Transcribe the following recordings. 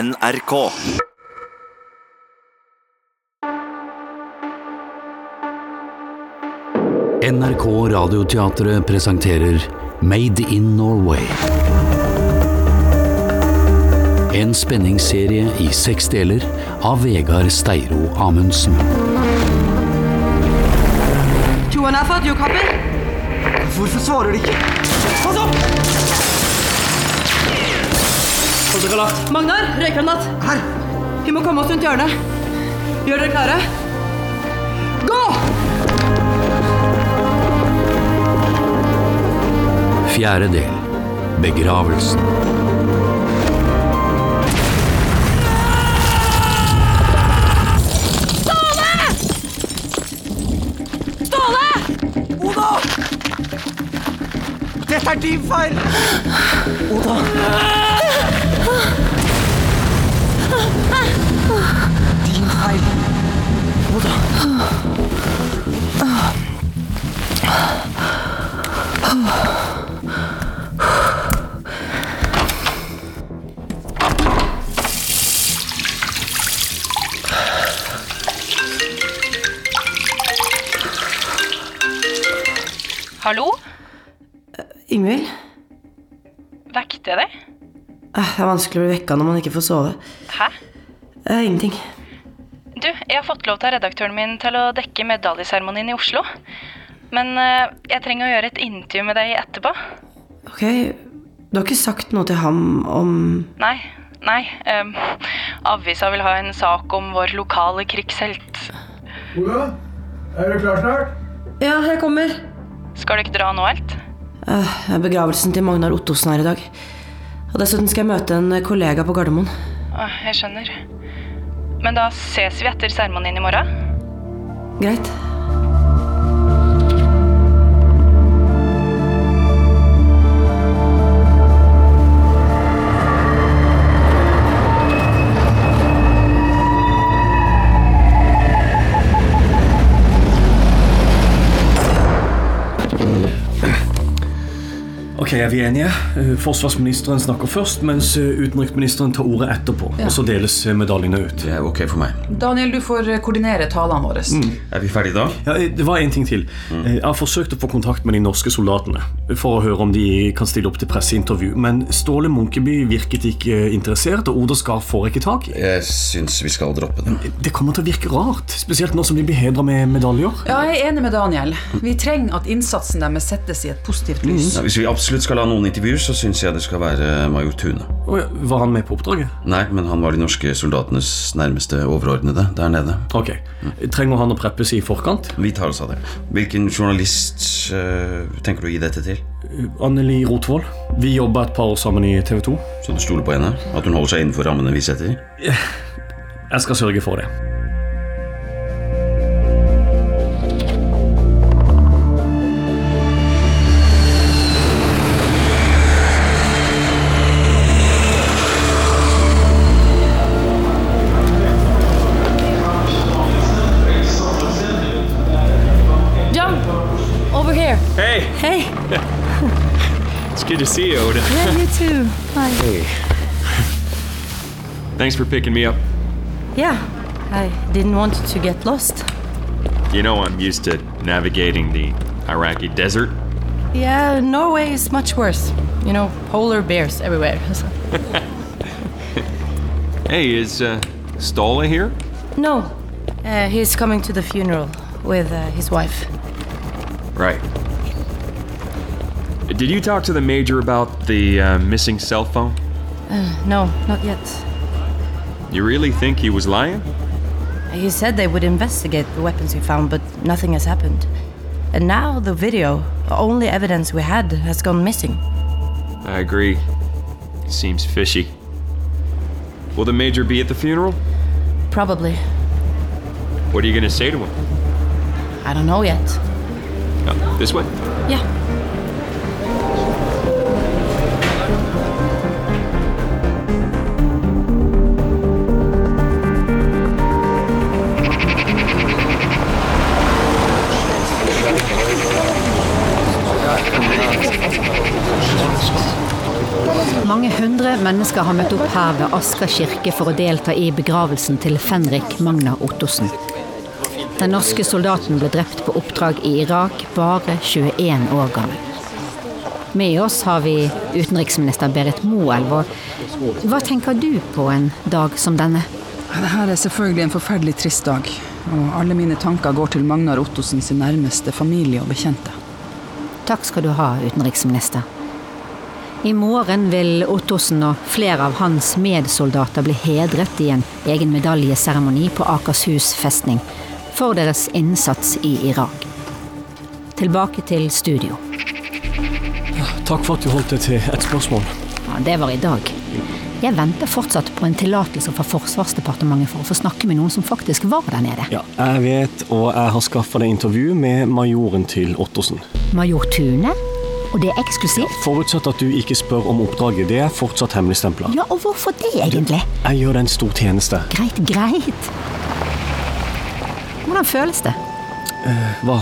NRK. NRK Radioteatret presenterer Made in Norway. En spenningsserie i seks deler av Vegard Steiro Amundsen. Johan har fått jordkopper. Hvorfor svarer de ikke? Pass opp! Hodekalat, Magnar, røykgranat. her! Vi må komme oss rundt hjørnet. Gjør dere klare? Gå! Fjerde del Begravelsen. Ståle! Oda! Dette er din feil! Oda! Din feil. Oda. Hallo? Ingvild, Vekte jeg deg? Eh, det er vanskelig å bli vekka når man ikke får sove. Hæ? Eh, ingenting. Du, jeg har fått lov til av redaktøren min til å dekke medaljeseremonien i Oslo. Men eh, jeg trenger å gjøre et intervju med deg etterpå. Ok, du har ikke sagt noe til ham om Nei, nei. Um, avisa vil ha en sak om vår lokale krigshelt. Ola, er du klar snart? Ja, jeg kommer. Skal du ikke dra nå helt? Eh, det er begravelsen til Magnar Ottosen her i dag. Og dessuten skal jeg møte en kollega på Gardermoen. Åh, jeg skjønner. Men da ses vi etter seremonien i morgen. Greit. Ok, er vi enige? Eh, Forsvarsministeren snakker først, mens eh, utenriksministeren tar ordet etterpå. Og så deles eh, medaljene ut. Det er ok for meg. Mm. Daniel, du får eh, koordinere talene våre. Er vi ferdige da? Ja, eh, det var en ting til. Eh, Jeg har forsøkt å få kontakt med de norske soldatene for å høre om de kan stille opp til presseintervju, men Ståle Munkeby virket ikke eh, interessert, og Oda Skar får ikke tak i. Jeg syns vi skal droppe dem. Det kommer til å virke rart, spesielt nå som de blir hedra med medaljer. Ja, jeg er enig med Daniel. Vi trenger at innsatsen deres settes i et positivt lys. Ja, hvis vi absolutt skal ha noen intervjuer, så syns jeg det skal være major Tune. Å ja, Var han med på oppdraget? Nei, men han var de norske soldatenes nærmeste overordnede der nede. Ok. Trenger han å preppes i forkant? Vi tar oss av det. Hvilken journalist eh, tenker du å gi dette til? Eh, Anneli Rotvold. Vi jobba et par år sammen i TV 2. Så du stoler på henne? At hun holder seg innenfor rammene vi setter? Jeg skal sørge for det. John, over here. Hey, Hey, it's good to see you, Oda. yeah, you too. Hi. Thanks for picking me up. Yeah, I didn't want to get lost. You know I'm used to navigating the Iraqi desert. Yeah, Norway is much worse. You know, polar bears everywhere. Hey, is uh, Stola here? no, uh, he's coming to the funeral with uh, his wife. Right. Did you talk to the major about the uh, missing cell phone? Uh, No, not yet. You really think he was lying? He said they would investigate the weapons we found, but nothing has happened. And now the video, the only evidence we had, has gone missing. I agree. Seems fishy. Will the major be at the funeral? Probably. What are you gonna say to him? I don't know yet. Oh, this way. Yeah. Mange hundre mennesker har møtt opp her ved Asker kirke for å delta i begravelsen til Fenrik Magna Ottosen. Den norske soldaten ble drept på oppdrag i Irak, bare 21 år gammel. Med oss har vi utenriksminister Berit Moelv. og Hva tenker du på en dag som denne? Dette er selvfølgelig en forferdelig trist dag, og alle mine tanker går til Magnar Ottosen sin nærmeste familie og bekjente. Takk skal du ha, utenriksminister. I morgen vil Ottosen og flere av hans medsoldater bli hedret i en egen medaljeseremoni på Akershus festning for deres innsats i Irak. Tilbake til studio. Takk for at du holdt deg til et spørsmål. Ja, det var i dag. Jeg venter fortsatt på en tillatelse fra Forsvarsdepartementet for å få snakke med noen som faktisk var der nede. Ja, jeg vet, og jeg har skaffa deg intervju med majoren til Ottersen. Major Tune, og det er eksklusivt? Forutsatt at du ikke spør om oppdraget. Det er fortsatt hemmeligstempla. Ja, og hvorfor det, egentlig? Jeg gjør deg en stor tjeneste. Greit, greit. Hvordan føles det Eh, hva?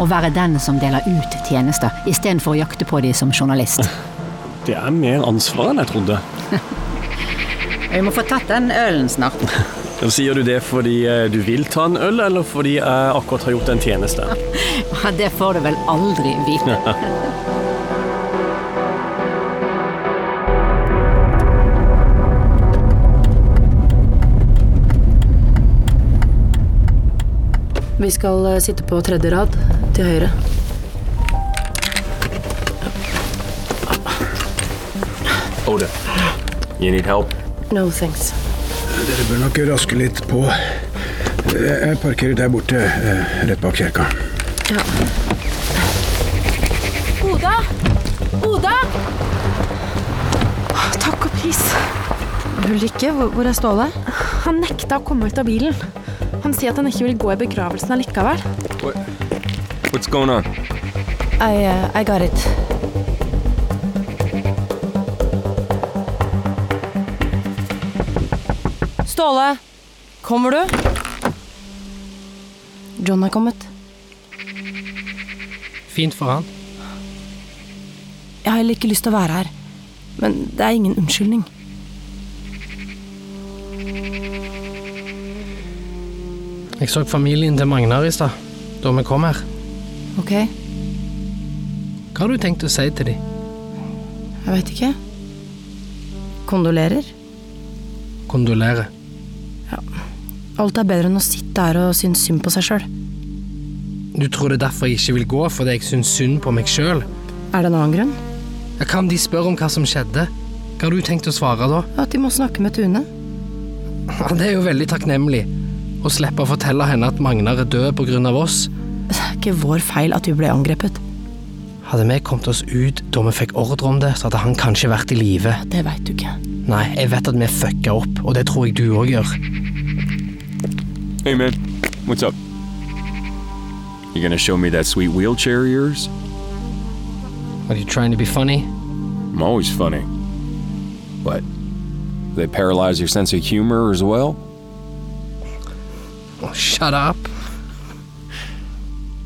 å være den som deler ut tjenester, istedenfor å jakte på de som journalist? Det er mer ansvar enn jeg trodde. Vi må få tatt den ølen snart. Sier du det fordi eh, du vil ta en øl, eller fordi jeg akkurat har gjort en tjeneste? Ja, Det får du vel aldri vite. Vi skal eh, sitte på tredje rad til høyre. Oda, you need help? No thanks. Dere bør nok raske litt på. Jeg parkerer der borte, eh, rett bak kjerka. Ja. Oda! Oda! Takk og pris. Ulrikke, hvor er Ståle? Han nekta å komme ut av bilen. Han sier at han ikke vil gå i begravelsen allikevel. What? What's going on? I, uh, I got it. Ståle, kommer du? John er kommet. Fint for han. Jeg har heller ikke lyst til å være her. Men det er ingen unnskyldning. Jeg så familien til Magnar i stad, da vi kom her. Ok? Jeg Hva har du tenkt å si til dem? veit ikke. Kondolerer. Kondolere. Alt er bedre enn å sitte her og synes synd på seg sjøl. Du tror det er derfor jeg ikke vil gå, fordi jeg syns synd på meg sjøl? Er det en annen grunn? Kan de spørre om hva som skjedde? Hva har du tenkt å svare da? At de må snakke med Tune? Ja, Det er jo veldig takknemlig. Å slippe å fortelle henne at Magnar er død pga. oss. Det er ikke vår feil at vi ble angrepet. Hadde vi kommet oss ut da vi fikk ordre om det, så hadde han kanskje vært i live. Det veit du ikke. Nei, jeg vet at vi fucka opp, og det tror jeg du òg gjør. Hey, man. What's up? You gonna show me that sweet wheelchair of yours? Are you trying to be funny? I'm always funny. What? They paralyze your sense of humor as well? Oh, shut up.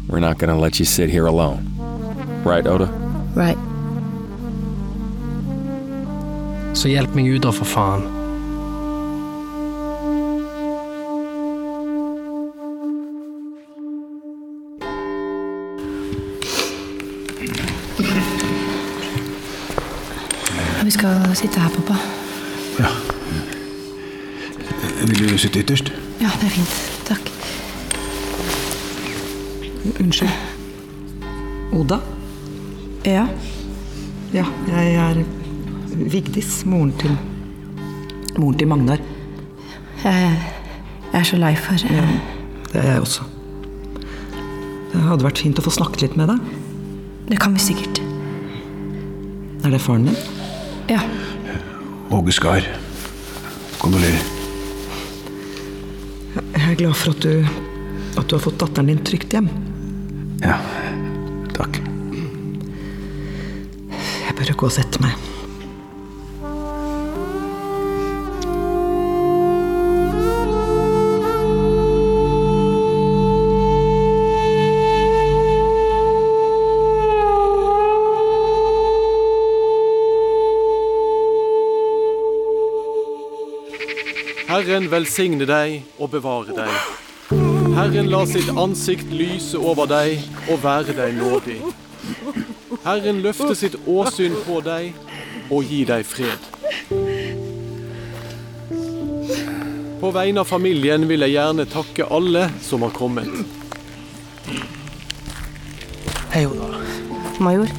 We're not gonna let you sit here alone. Right, Oda? Right. Så hjelp meg ut, da, for faen. Vi skal sitte her, pappa. Vil du sitte ytterst? Ja, det er fint. Takk. Unnskyld. Oda? Ja? Ja, jeg er Vigdis, moren til Moren til Magnar. Jeg, jeg er så lei for eh, Ja, det er jeg også. Det hadde vært fint å få snakket litt med deg. Det kan vi sikkert. Er det faren din? Ja. Åge Skar. Kondolerer. Jeg er glad for at du, at du har fått datteren din trygt hjem. Ja, takk. Jeg bør gå og sette meg. Herren velsigne deg og bevare deg. Herren la sitt ansikt lyse over deg og være deg nådig. Herren løfte sitt åsyn på deg og gi deg fred. På vegne av familien vil jeg gjerne takke alle som har kommet. Hei, Oda. Major,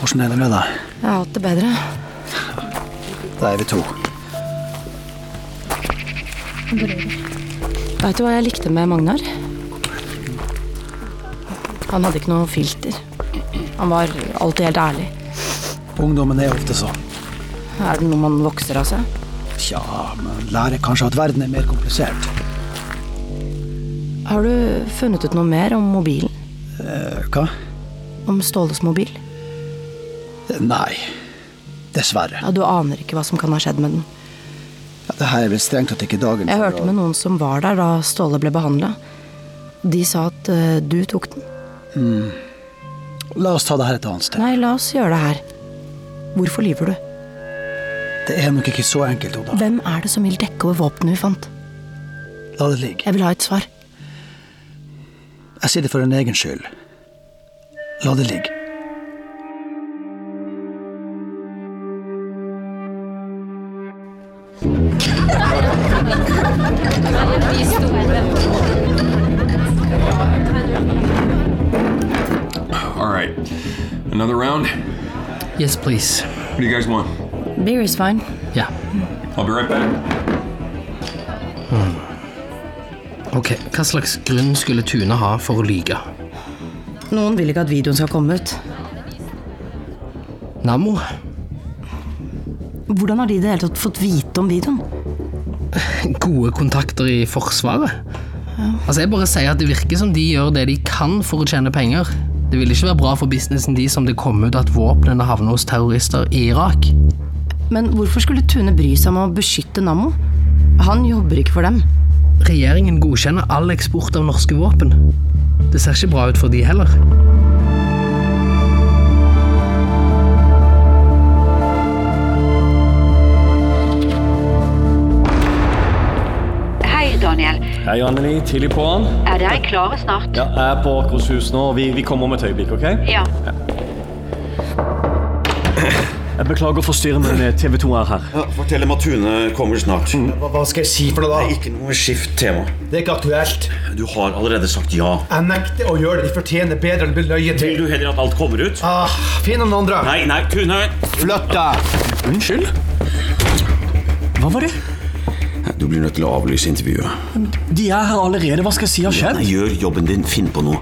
Hvordan er det med deg? jeg har hatt det bedre. Da er vi to. Vet du hva jeg likte med Magnar? Han hadde ikke noe filter. Han var alltid helt ærlig. Ungdommen er ofte sånn. Er det noe man vokser av seg? Tja, man lærer kanskje at verden er mer komplisert. Har du funnet ut noe mer om mobilen? Eh, hva? Om Ståles mobil? Nei. Dessverre. Ja, du aner ikke hva som kan ha skjedd med den. Ja, det her er vel strengt tatt ikke dagen Jeg for hørte med noen som var der da Ståle ble behandla. De sa at eh, du tok den. Mm. La oss ta det her et annet sted. Nei, la oss gjøre det her. Hvorfor lyver du? Det er nok ikke så enkelt, Oda. Hvem er det som vil dekke over våpenet vi fant? La det ligge. Jeg vil ha et svar. Jeg sier det for en egen skyld. La det ligge. All right. Another round? Yes, please. What do you guys want? Beer is fine. I'll be right back. Ok, Hva slags grunn skulle Tune ha for å lyge? Noen vil ikke at videoen skal komme ut. Nammo? Hvordan har de i det hele tatt fått vite om videoen? Gode kontakter i Forsvaret? Altså Jeg bare sier at det virker som de gjør det de kan for å tjene penger. Det vil ikke være bra for businessen de som det kom ut at våpnene havner hos terrorister i Irak. Men hvorfor skulle Tune bry seg om å beskytte Nammo? Han jobber ikke for dem. Regjeringen godkjenner all eksport av norske våpen. Det ser ikke bra ut for de heller. Hei, Daniel. Hei, Anneli. Tidlig på'n. Er dere klare snart? Ja, jeg er på Akershus nå. Vi, vi kommer om et øyeblikk, OK? Ja. Jeg beklager å forstyrre, men TV 2 er her. Ja, fortell dem at Tune kommer snart. Hva, hva skal jeg si for noe, da? Det er ikke noe skift tema. Det er ikke aktuelt. Du har allerede sagt ja. Jeg nekter å gjøre det. De fortjener bedre enn å bli løyet til. Vil du heller at alt kommer ut? Ah, Finn noen andre. Nei, nei, Tune! Flytt deg! Unnskyld? Hva var det? Du blir nødt til å avlyse intervjuet. De er her allerede. Hva skal jeg si har skjedd? Nei, gjør jobben din. Finn på noe.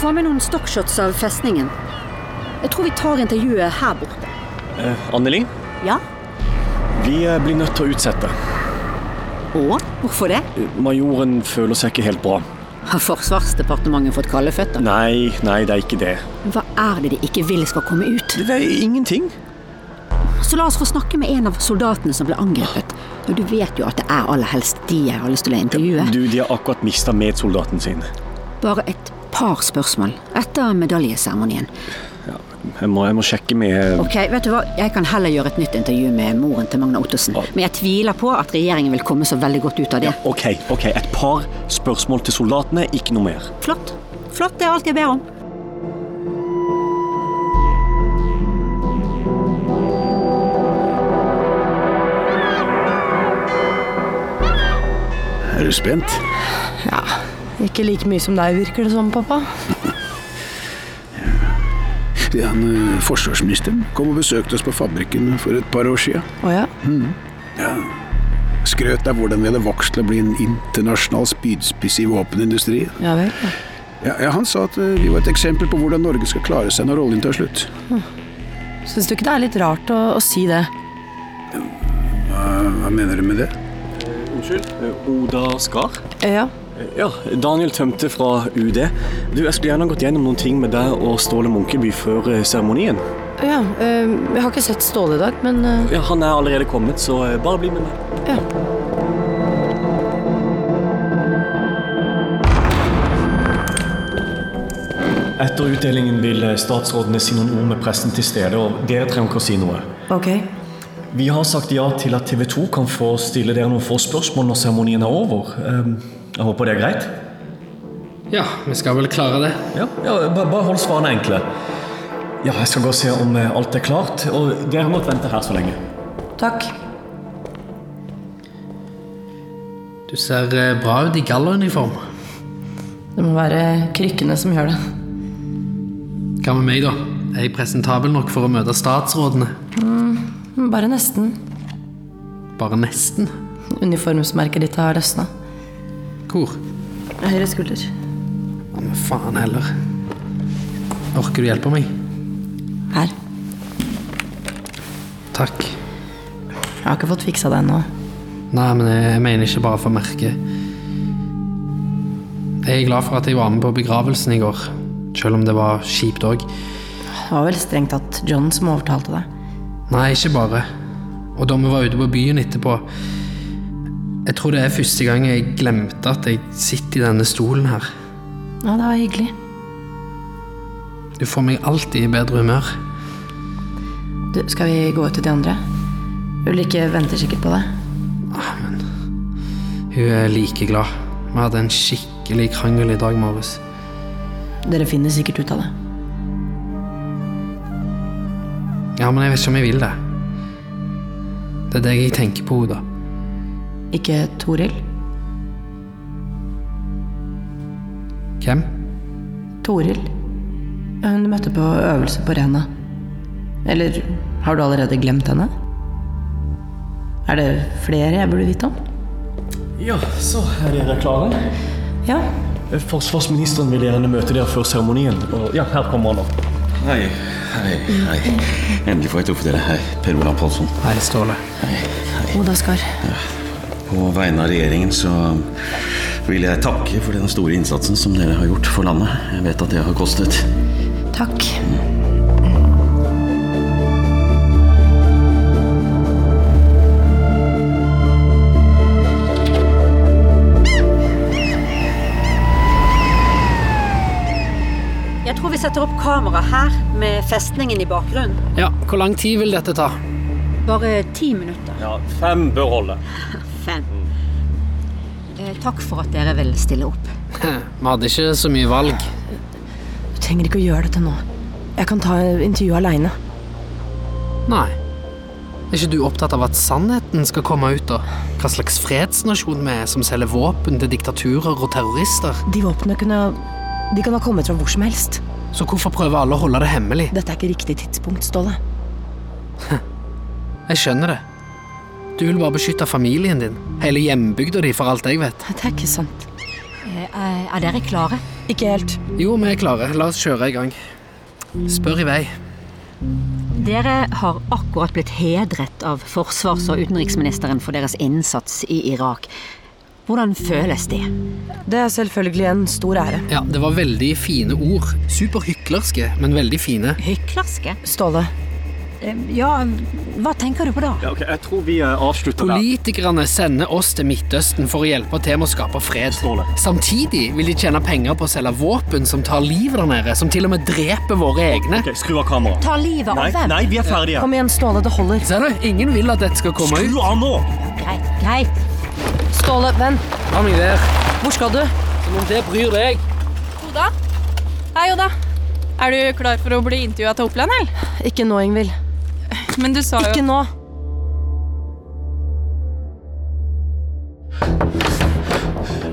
Få med noen stockshots av festningen. Jeg tror vi tar intervjuet her borte. Eh, Anneli, Ja? vi eh, blir nødt til å utsette. Og? Hvorfor det? Eh, Majoren føler seg ikke helt bra. Har Forsvarsdepartementet fått kalde føtter? Nei, nei, det er ikke det. Hva er det de ikke vil skal komme ut? Det er ingenting. Så la oss få snakke med en av soldatene som ble angrepet. Og du vet jo at det er aller helst de jeg har lyst til å intervjue. Du, de har akkurat mista medsoldaten sin. Bare et par spørsmål etter medaljeseremonien. Jeg må, jeg må sjekke med eh, Ok, vet du hva? Jeg kan heller gjøre et nytt intervju med moren til Magna Ottosen. Men jeg tviler på at regjeringen vil komme så veldig godt ut av det. Ok, ok, et par spørsmål til soldatene, ikke noe mer. Flott. Flott, det er alt jeg ber om. Er du spent? Ja. Ikke like mye som deg, virker det som, pappa. Han, eh, forsvarsministeren kom og besøkte oss på fabrikken for et par år siden. Å ja? Ja. Skrøt av hvordan vi hadde vokst til å bli en internasjonal spydspiss i våpenindustrien. Ja vel. Ja, ja, han sa at eh, vi var et eksempel på hvordan Norge skal klare seg når oljen tar slutt. Syns du ikke det er litt rart å, å si det? Hva, hva mener du med det? Unnskyld? Oda Skar? Ja. Ja, Daniel Tømte fra UD. Du, Jeg skulle gjerne gått gjennom noen ting med deg og Ståle Munkeby før eh, seremonien. Ja, eh, jeg har ikke sett Ståle i dag, men eh, Ja, Han er allerede kommet, så eh, bare bli med meg. Etter utdelingen vil statsrådene si noen ord med pressen til stede, og dere trenger ikke å si noe. Okay. Vi har sagt ja til at TV 2 kan få stille dere noen få spørsmål når seremonien er over. Ehm, Jeg håper det er greit? Ja, vi skal vel klare det. Ja, ja bare, bare hold svarene enkle. Ja, jeg skal gå og se om eh, alt er klart, og dere har måttet vente her så lenge. Takk. Du ser eh, bra ut i gallauniform. Det må være krykkene som gjør det. Hva med meg, da? Er jeg presentabel nok for å møte statsrådene? Mm, bare nesten. Bare nesten. Uniformsmerket ditt har løsna. Hvor? Høyre skulder. Men faen heller. Orker du hjelpe meg? Her. Takk. Jeg har ikke fått fiksa det ennå. Nei, men jeg jeg mener ikke bare for merket. Jeg er glad for at jeg var med på begravelsen i går. Selv om det var kjipt òg. Det var vel strengt tatt John som overtalte deg. Nei, ikke bare. Og da vi var ute på byen etterpå Jeg tror det er første gang jeg glemte at jeg sitter i denne stolen her. Ja, det var hyggelig. Du får meg alltid i bedre humør. Du, skal vi gå ut til de andre? Ulrikke venter sikkert på deg. Ah, Hun er like glad. Vi hadde en skikkelig krangel i dag morges. Dere finner sikkert ut av det. Ja, men jeg vet ikke om jeg vil det. Det er deg jeg tenker på, Oda. Ikke Toril? Hvem? Toril. Hun du møtte på øvelse på Rena. Eller har du allerede glemt henne? Er det flere jeg burde vite om? Ja, så er dere klare? Ja. Forsvarsministeren vil gjerne møte dere før seremonien. og- Ja, her kommer han opp. Hei, hei, hei. Endelig får jeg truffet dere. Hei, Per Olav Pålsson. Hei, Ståle. Oda Skar. På vegne av regjeringen så vil jeg takke for den store innsatsen som dere har gjort for landet. Jeg vet at det har kostet. Takk. Jeg tror vi setter opp kamera her, med festningen i bakgrunnen. Ja, hvor lang tid vil dette ta? Bare ti minutter. Ja, fem bør holde. Fem. Eh, Takk for at dere vil stille opp. Vi hadde ikke så mye valg. Du trenger ikke å gjøre dette nå. Jeg kan ta intervjuet aleine. Nei. Er ikke du opptatt av at sannheten skal komme ut, da? Hva slags fredsnasjon vi er som selger våpen til diktaturer og terrorister? De våpnene kunne De kan ha kommet fra hvor som helst. Så hvorfor prøver alle å holde det hemmelig? Dette er ikke riktig tidspunkt, Ståle. Jeg skjønner det. Du vil bare beskytte familien din. Hele hjembygda di, for alt jeg vet. Det er ikke sant. Eh, Er dere klare? Ikke helt. Jo, vi er klare. La oss kjøre i gang. Spør i vei. Dere har akkurat blitt hedret av forsvars- og utenriksministeren for deres innsats i Irak. Hvordan føles det? Det er selvfølgelig en stor ære. Ja, det var veldig fine ord. Superhyklerske, men veldig fine. Hyklerske? Eh, Ståle. Ja, hva tenker du på da? Ja, ok, Jeg tror vi eh, avslutter der. Politikerne sender oss til Midtøsten for å hjelpe til med å skape fred. Samtidig vil de tjene penger på å selge våpen som tar livet der nede, som til og med dreper våre egne. skru av kameraet. Ta livet av hvem? Kom igjen, Ståle. Det holder. Ser du? Ingen vil at dette skal komme ut. av nå! Greit, greit. Ståle, vent. Ha meg der. Hvor skal du? Som om det bryr deg. Oda? Hei, Oda. Er du klar for å bli intervjua til Oppland, eller? Ikke nå, Ingvild. Men du sa jo Ikke nå.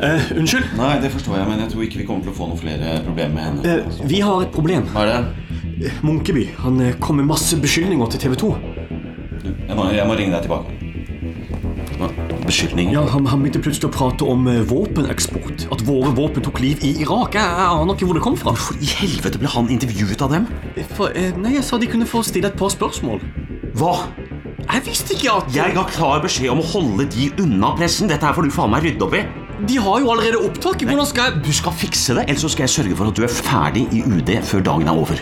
Eh, unnskyld? Nei, det forstår jeg, men jeg tror ikke vi kommer til å få noen flere problemer med henne. Eh, vi har et problem. Hva er det? Eh, Munkeby han eh, kom med masse beskyldninger til TV 2. Jeg må, jeg må ringe deg tilbake. Hva? Beskyldninger? Ja, han, han begynte plutselig å prate om eh, våpeneksport. At våre våpen tok liv i Irak. Jeg, jeg aner ikke hvor det kom fra. Hvorfor i helvete ble han intervjuet av dem? For, eh, nei, Jeg sa de kunne få stille et par spørsmål. Hva? Jeg visste ikke at Jeg ga klar beskjed om å holde de unna pressen. Dette her får du faen meg rydde opp i. De har jo allerede opptak. Hvordan skal jeg Du skal fikse det, ellers så skal jeg sørge for at du er ferdig i UD før dagen er over.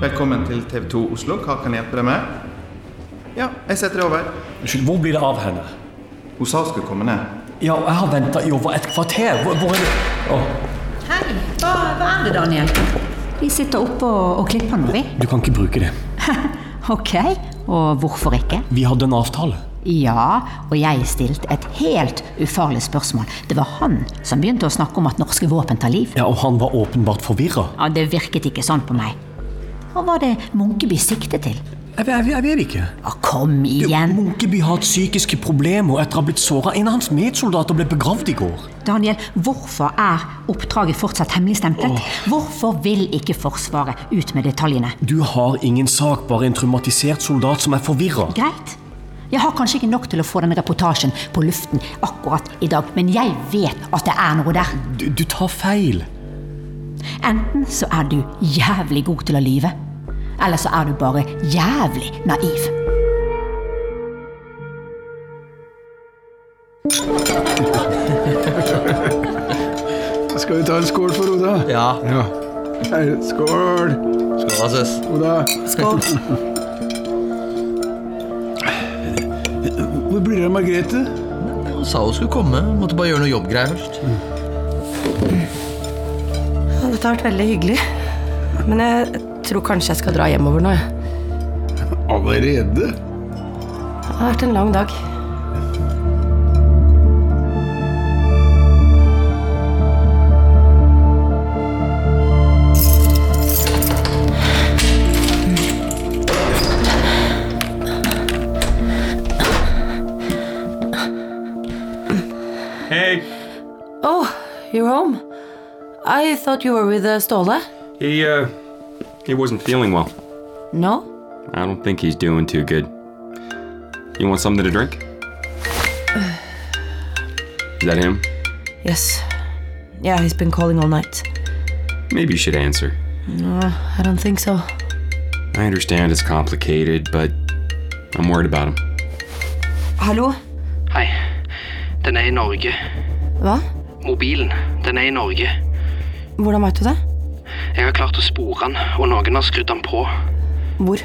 Velkommen til TV 2 Oslo. Hva kan jeg hjelpe deg med? Ja, jeg setter deg over. Unnskyld, hvor blir det av henne? Hun sa hun skulle komme ned. Ja, jeg har venta i over et kvarter. Hvor, hvor er det Å, Hei, hva, hva er det, Daniel? Vi sitter oppe og, og klipper nå, vi. Du kan ikke bruke det. Ok, og hvorfor ikke? Vi hadde en avtale. Ja, og jeg stilte et helt ufarlig spørsmål. Det var han som begynte å snakke om at norske våpen tar liv. Ja, Og han var åpenbart forvirra. Ja, Det virket ikke sånn på meg. Hva var det Munkeby siktet til? Jeg, jeg, jeg vet ikke. kom igjen. Munkeby har hatt psykiske problemer etter å ha blitt såra. En av hans medsoldater ble begravd i går. Daniel, hvorfor er oppdraget fortsatt hemmeligstemplet? Hvorfor vil ikke Forsvaret ut med detaljene? Du har ingen sak, bare en traumatisert soldat som er forvirra. Greit. Jeg har kanskje ikke nok til å få denne reportasjen på luften akkurat i dag, men jeg vet at det er noe der. Du, du tar feil. Enten så er du jævlig god til å lyve, eller så er du bare jævlig naiv. Skal vi ta en skål for Oda? Ja. Hei, Skål! Skål, da, søs. Oda. Skål. Hvor blir det av Margrethe? Hun sa hun skulle komme. Måtte bare gjøre noe jobbgreier først. Ja, Dette har vært veldig hyggelig. Men jeg tror kanskje jeg skal dra hjemover nå. jeg. Allerede? Det har vært en lang dag. Hey. Oh, you're home? I thought you were with uh, Ståle. He, uh, he wasn't feeling well. No? I don't think he's doing too good. You want something to drink? Is that him? Yes. Yeah, he's been calling all night. Maybe you should answer. No, I don't think so. I understand it's complicated, but I'm worried about him. Hallo? Hei. Den er i Norge. Hva? Mobilen, den er i Norge. Hvordan veit du det? Jeg har klart å spore den, og noen har skrudd den på. Hvor?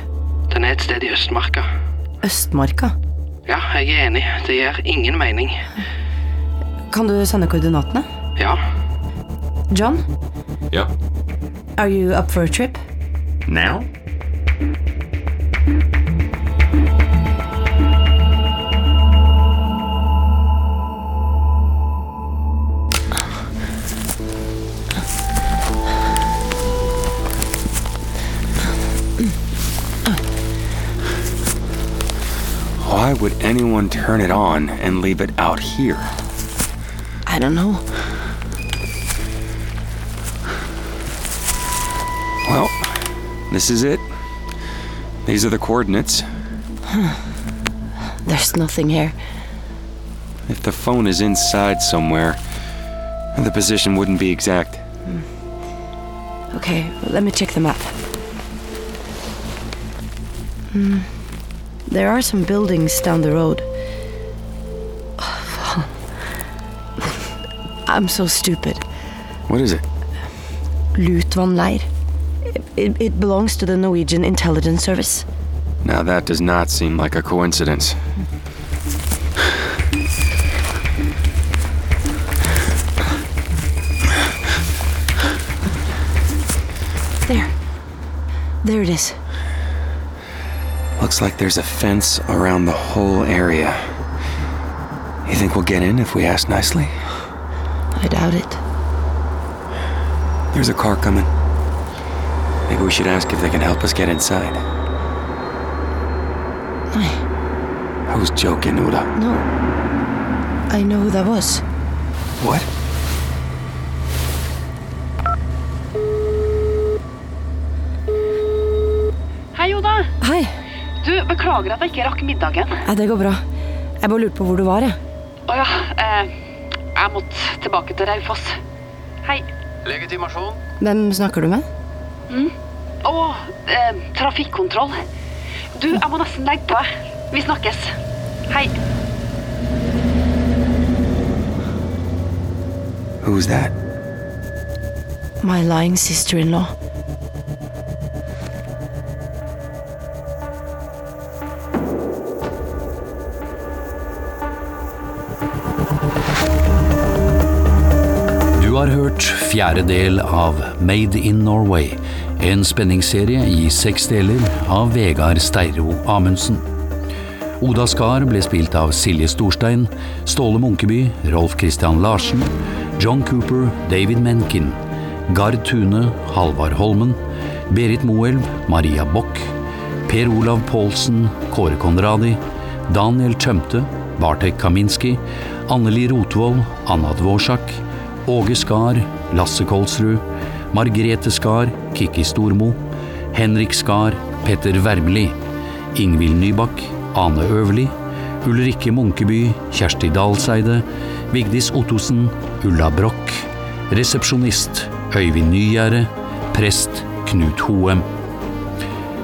Den er et sted i Østmarka. Østmarka. Ja, jeg er enig. Det gir ingen mening. Kan du sende koordinatene? Ja. John, Yeah. are you up for a trip? Now? Why would anyone turn it on and leave it out here? I don't know. Well, this is it. These are the coordinates. There's nothing here. If the phone is inside somewhere, the position wouldn't be exact. Okay, let me check the map. Hmm. There are some buildings down the road. Faen. I'm so stupid. What is it? Lutvann leir. It, it belongs to the Norwegian intelligence service. Now that does not seem like a coincidence. There. There it is. Looks like there's a fence around the whole area. You think we'll get in if we ask nicely? I doubt it. There's a car coming. Maybe we should ask if they can help us get inside. I was joking, Uda. No. I know who that was. What? Hei, Oda. Hei. Du, beklager at jeg ikke rakk middagen. Nei, det går bra. Jeg bare lurte på hvor du var, jeg. Å ja. Eh, jeg måtte tilbake til Raufoss. Hei. Legitimasjon? Hvem snakker du med? Mm. Å, eh, trafikkontroll. Du, jeg må nesten legge på. jeg. Vi snakkes. Hei. Who's that? My lying sister-in-law. har hørt fjerde del av Made in Norway, en spenningsserie i seks deler av Vegard Steiro Amundsen. Oda Skar ble spilt av Silje Storstein, Ståle Munkeby, Rolf Christian Larsen, John Cooper, David Menken, Gard Tune, Halvard Holmen, Berit Moelv, Maria Bock, Per Olav Pålsen, Kåre Konradi, Daniel Tømte, Bartek Kaminski, Anneli Rotvold, Anna Dvorsak, Åge Skar, Lasse Kolsrud, Margrete Skar, Kikki Stormo, Henrik Skar, Petter Wermli, Ingvild Nybakk, Ane Øverli, Ulrikke Munkeby, Kjersti Dalseide, Vigdis Ottosen, Ulla Broch, resepsjonist Øyvind Nygjerde, prest Knut Hoem.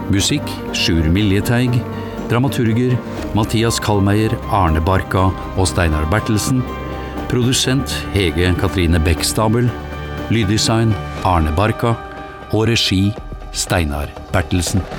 Musikk Sjur Miljeteig. Dramaturger Mathias Kallmeier, Arne Barka og Steinar Bertelsen. Produsent Hege Katrine Bekkstabel. Lyddesign Arne Barka. Og regi Steinar Bertelsen.